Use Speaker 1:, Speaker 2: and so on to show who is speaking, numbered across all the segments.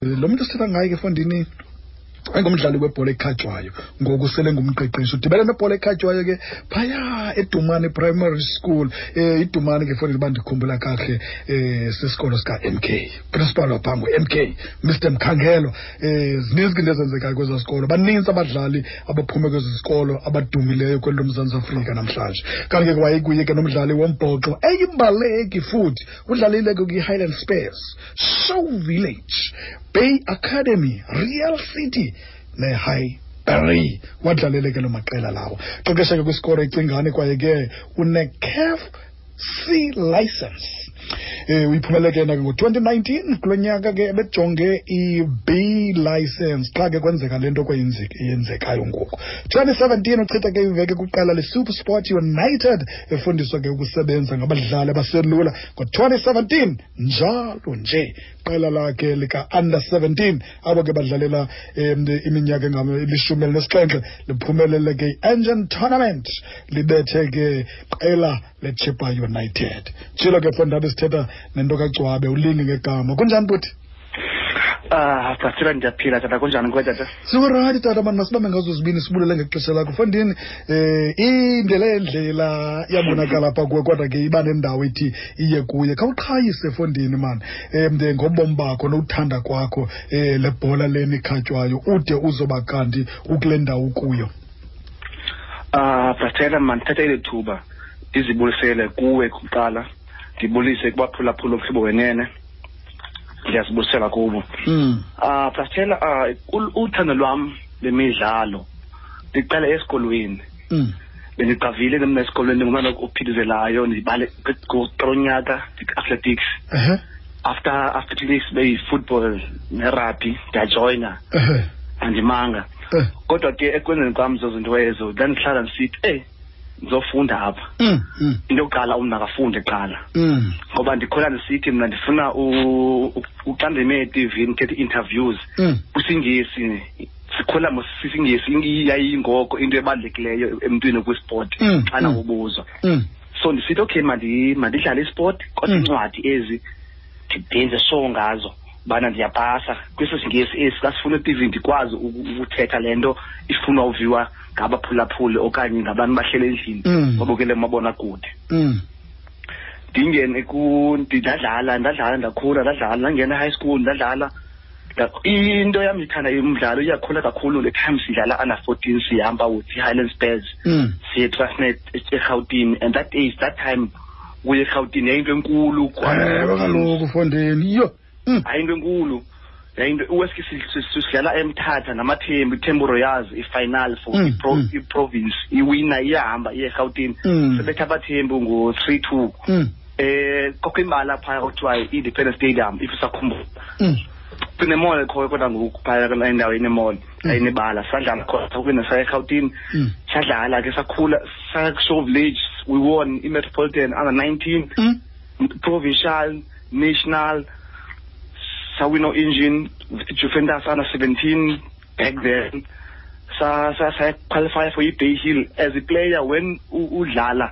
Speaker 1: lo muntu sithetha ngaye ke efondini engumdlali webhola ekhatywayo ngoku sele ngumqeqeshi udibene nebhola ekhatywayo ke phaya edumane primary school um idumane ke fondini uba ndikhumbula kakuhle um sisikolo sika-mk principal waphango mk mr mkhangelo um zininzi ke into ezenzekayo kwezo sikolo banintsi abadlali abaphume kwezo zikolo abadumileyo kweli lomzantsi afrika namhlanje kanti ke wayekuye ke nomdlali wombhoxo eyimbaleki futhi udlalile ke kwi-highland spares show village bay academy real city ne-high Barry wadlalele ke lo maqela lawo xoxesha ke kwisikoro icingane kwaye ke unecaf c license um uyiphumelele ke yena ke ngo-2019 kulo nyaka ke ebejonge i-b license xa ke kwenzeka le nto kweyenzek- eyenzekayo ngoku 2017 uchitha ke iveke kwiqela lesuper sport united efundiswa ke ukusebenza ngabadlali abaselula ngo-2017 njalo nje iqela lakhe lika-under 17 abo ke badlalela um iminyaka engamilishumi elinesixhenxe liphumelele ke i-engine tournament libethe ke qela lechipa united tshilo ke fondabe sithetha nento kagcwabe ulingi ngegama kunjani buthi
Speaker 2: Ah, tatira ndiyaphila tata kunjani kuwe tata?
Speaker 1: sikurati tata mani masibambe ngazo zibini sibulele ngexesha lakho fondini um indlela yendlela iyabonakala pha kuwe kodwa ke iba nendawo ethi iye kuye khawuqhayise fondini mani um ngobomi bakho nowuthanda kwakho um le bhola leni ikhatywayo ude uzoba kanti ukule ndawo ukuyo
Speaker 2: Ah, tatira mandithatha eli thuba ndizibulisele kuwe kuqala ndibulise kubaphulaphula umhlobo wenene ndiyazibulisela kubo
Speaker 1: mm.
Speaker 2: ah tatela ah ul- uthando lwam lemidlalo ndiqala esikolweni
Speaker 1: mm.
Speaker 2: bendiqavile nemna esikolweni ndingumntana ophithizelayo ndibale kuqala unyaka ndi-athletics
Speaker 1: ehe
Speaker 2: after athletics beyi-football nerugby ndiyajoyina
Speaker 1: ehe
Speaker 2: andimanga
Speaker 1: eh,
Speaker 2: kodwa ke ekwenzeni kwam zozinto ezo ndandihlala ndisithi eyi ndizofunda "Eh, apha
Speaker 1: mm, mm,
Speaker 2: into yokuqala umntu akafunde kuqala
Speaker 1: mm.
Speaker 2: ngoba ndikhona ndisithi mna ndifuna u- u- u- xa ndime etivini ndithetha ii-interviews
Speaker 1: mm.
Speaker 2: kwisingesi sikhula mosisingesi yayingoko into ebalulekileyo emntwini kwisport
Speaker 1: Mm,
Speaker 2: xana
Speaker 1: mm.
Speaker 2: ubuzwa
Speaker 1: mm.
Speaker 2: so ndisithi okay mandi- mandidlale isport kodwa
Speaker 1: Mm.
Speaker 2: iincwadi ezi ndenze show ngazo ubana ndiyapasa kweso singesi esi kasifuna etivini ndikwazi uku- ukuthetha le nto ifunwa uviwa ngabaphulaphuli okanye ngabantu bahlele endlini
Speaker 1: Mm.
Speaker 2: babukele umabona kude
Speaker 1: mm.
Speaker 2: ndingene ku- ndadlala ndadlala ndakhula ndadlala ndangena high school ndadlala Nda- into yam ndithanda imidlalo iyakhula kakhulu le time sidlala under fourteen sihamba with i-highland spars
Speaker 1: mm.
Speaker 2: siye Transnet eRhawutini and that age that time kuye eRhawutini yayinto enkulu
Speaker 1: ewe kaloku fondeni yho mm.
Speaker 2: yayinto enkulu yayinto uweske sidlala emthatha namathembu ithembu royals ifinal for
Speaker 1: Mm,
Speaker 2: ipro-
Speaker 1: mm.
Speaker 2: iprovince iwina iyahamba iye eRhawutini
Speaker 1: Mm.
Speaker 2: sebetha abathembu ngo-three two
Speaker 1: mm.
Speaker 2: um kokho imbala phaya kuthiwa i-independence stadium if usakhumbula
Speaker 1: mm.
Speaker 2: kunemall ekhoyo kodwa ngoku phaya endaweni emall
Speaker 1: Mm.
Speaker 2: ayinebala sadlala khona sakwena saya eRhawutini
Speaker 1: mm.
Speaker 2: sadlala ke sakhula saya kushow village we won i-metropolitan under 19
Speaker 1: mm.
Speaker 2: provincial national sawino engine juventus under 17 back then sa sa saya qualify for i-bay hill as a player when u- udlala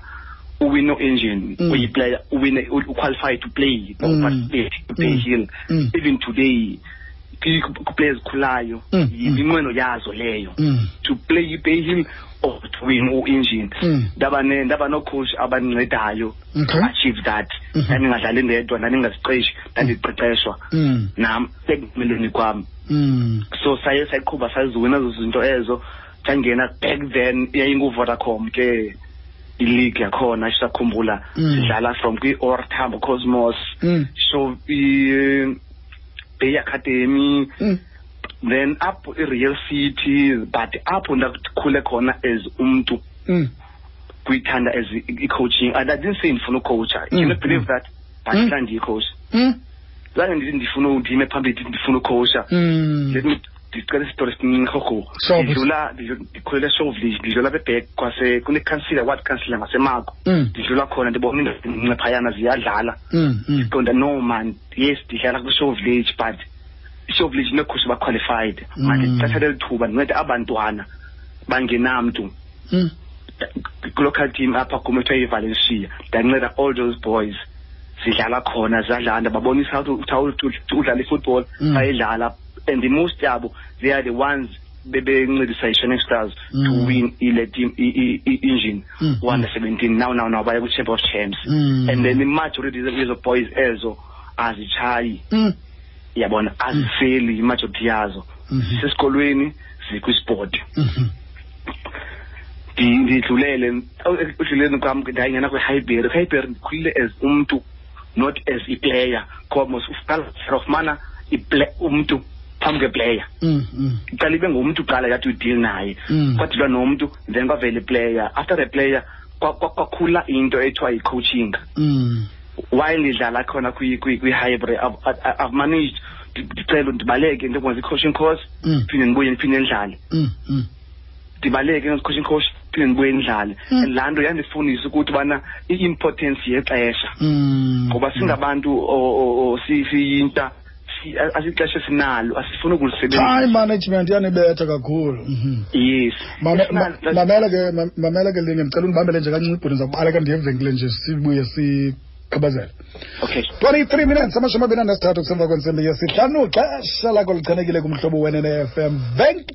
Speaker 2: uwino engine
Speaker 1: Mm.
Speaker 2: uyiplayer uwine u- uqualify to play
Speaker 1: Mm.
Speaker 2: participate i-bay
Speaker 1: Mm.
Speaker 2: hill
Speaker 1: Mm.
Speaker 2: even today players khulayo
Speaker 1: Mm. Mm.
Speaker 2: yinqwelo yazo leyo
Speaker 1: mm.
Speaker 2: to play i-bay hill or to win u-engine
Speaker 1: Mm. Mm-hmm.
Speaker 2: ndaba ne- ndaba noocoach abandincediyo
Speaker 1: okay
Speaker 2: achieve that
Speaker 1: Mhm.
Speaker 2: ndandingadlali ndedwa ndandingaziqeshi ndandiqeqeshwa
Speaker 1: mm.
Speaker 2: nam ekumelweni kwam
Speaker 1: mm.
Speaker 2: so saye sayiqhuba saziwina ezo zinto ezo ndangena back then yayinguvodacom ke ileague yakhona sisakhumbula
Speaker 1: Mm.
Speaker 2: sidlala from kwi-ortambo cosmos
Speaker 1: mm.
Speaker 2: so i- bay academy
Speaker 1: mm.
Speaker 2: then apho i-real city but apho ndakhule khona as umntu
Speaker 1: mm.
Speaker 2: kuyithanda as i- i-coaching and i didn't say ndifuna ucoacha you
Speaker 1: Mm,
Speaker 2: cannot believe
Speaker 1: mm.
Speaker 2: that but
Speaker 1: Mm.
Speaker 2: xa ndiyicoacha
Speaker 1: mm.
Speaker 2: zange ndithi ndifuna ndime phambili ndithi ndifuna ucoacha
Speaker 1: mm.
Speaker 2: let me ndicela isitori esincinci
Speaker 1: Sure, but-
Speaker 2: ndidlula ndidlu- ndikhulele showvillage ndidlula bebhek kwase kunecouncilor ward councilor ngasemako
Speaker 1: Mm.
Speaker 2: ndidlula khona ndibona iindoda ezincinci phayana ziyadlala
Speaker 1: Mm. Mm.
Speaker 2: qonda no man yes ndidlala kwi-show village but i-show village inekhushi baqualified
Speaker 1: Mm.
Speaker 2: mandithathele lithuba ndincede abantwana bangenamntu
Speaker 1: Mm.
Speaker 2: kwi-local team apha kum ekuthiwa yivalencia ndanceda all those boys zidlala khona zadlala babonisa ukuthi how to to udlala i-football
Speaker 1: Mm.
Speaker 2: bayidlala and the most yabo they are the ones bebencedisa i-shining stars
Speaker 1: Mm.
Speaker 2: to win ile team i- i- i- engine
Speaker 1: Mm.
Speaker 2: under 17 now now now baya ku-champ of champs
Speaker 1: Mm.
Speaker 2: and then imajority yezo boys ezo azitshayi
Speaker 1: Mm.
Speaker 2: yabona azifeli imajority yazo
Speaker 1: Mhm.
Speaker 2: zisesikolweni zikwisport
Speaker 1: Mhm.
Speaker 2: Ndi- ndidlulele ekudluleni kwam ndayingena kwihighbury ihighbury ndikhulile as umntu not as iplayer comos ufumana iple- umntu phambi kweplayer
Speaker 1: Mm. Mm.
Speaker 2: iqala ibe ngumntu qala yathi udeal naye
Speaker 1: Mm.
Speaker 2: kwadilwa nomntu then kwavela iplayer after the player kwa- kwa- kwakhula into ethiwa yi-coaching
Speaker 1: Mm.
Speaker 2: while ndidlala khona kwi-highbury i've managed ndi- ndicela ndibaleke into i-coaching course
Speaker 1: Mm.
Speaker 2: phinde ndibuye ndiphinde ndidlale
Speaker 1: Mm. Mm.
Speaker 2: ndibaleke ngesikhoshin coach phinde ndibuye ndidlale
Speaker 1: Mm.
Speaker 2: and laa nto yandifundisa ukuthi ubana i-importance yexesha
Speaker 1: Mm.
Speaker 2: ngoba singabantu o- o- o- oh, si- siyinta si- a- asixesha esinalo asifuni
Speaker 1: time
Speaker 2: ukulisebenzisa
Speaker 1: management yanibetha kakhulu Mhm.
Speaker 2: yes
Speaker 1: Mame- ma-
Speaker 2: Esinalo-
Speaker 1: mamela ke ma- mamela ke linge ndicela undibambele nje kancinci ibhuni ndizawubaleka ndiye evenkile nje sibuye siqhibazele
Speaker 2: okay
Speaker 1: 23 minutes amashumi abini anesithathu kusemva kwentsimbi yesihlanu xesha lakho lichanekile kumhlobo wenene-fm venk